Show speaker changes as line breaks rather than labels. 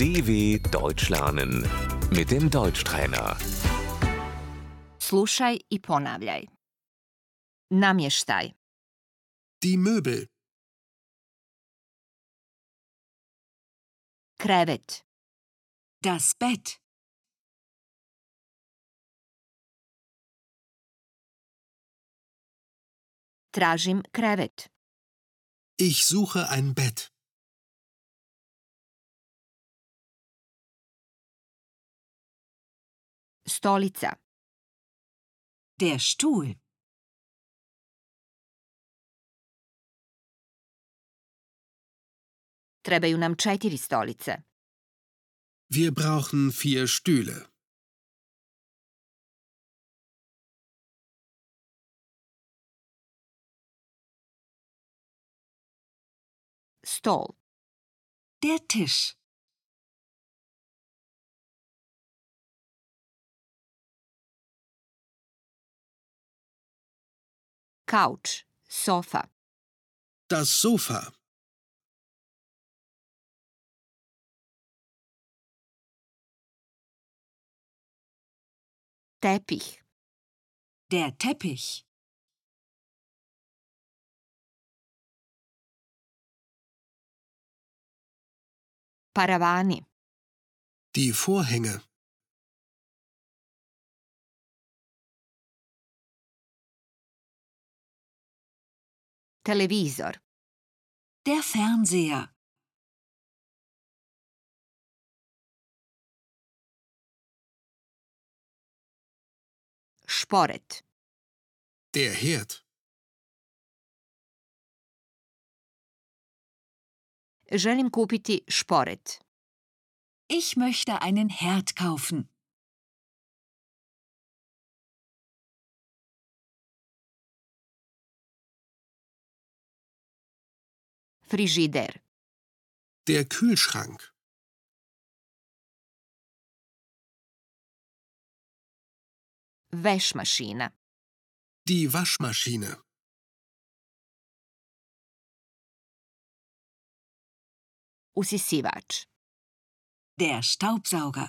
DW Deutsch lernen mit dem Deutschtrainer.
Slušaj i ponavljaj. Namještaj,
Die Möbel,
krevet,
Das Bett,
tražim krevet,
ich suche ein Bett,
stolica,
der Stuhl,
trebaju nam četiri stolice,
wir brauchen vier Stühle,
stol,
der Tisch,
kauč, sofa,
das Sofa,
tepih,
der Teppich,
paravani,
die Vorhänge,
televizor,
der Fernseher,
šporet,
der Herd,
želim kupiti šporet,
ich möchte einen Herd kaufen,
frižider,
der Kühlschrank,
vešmašina,
die Waschmaschine,
usisivač,
der Staubsauger,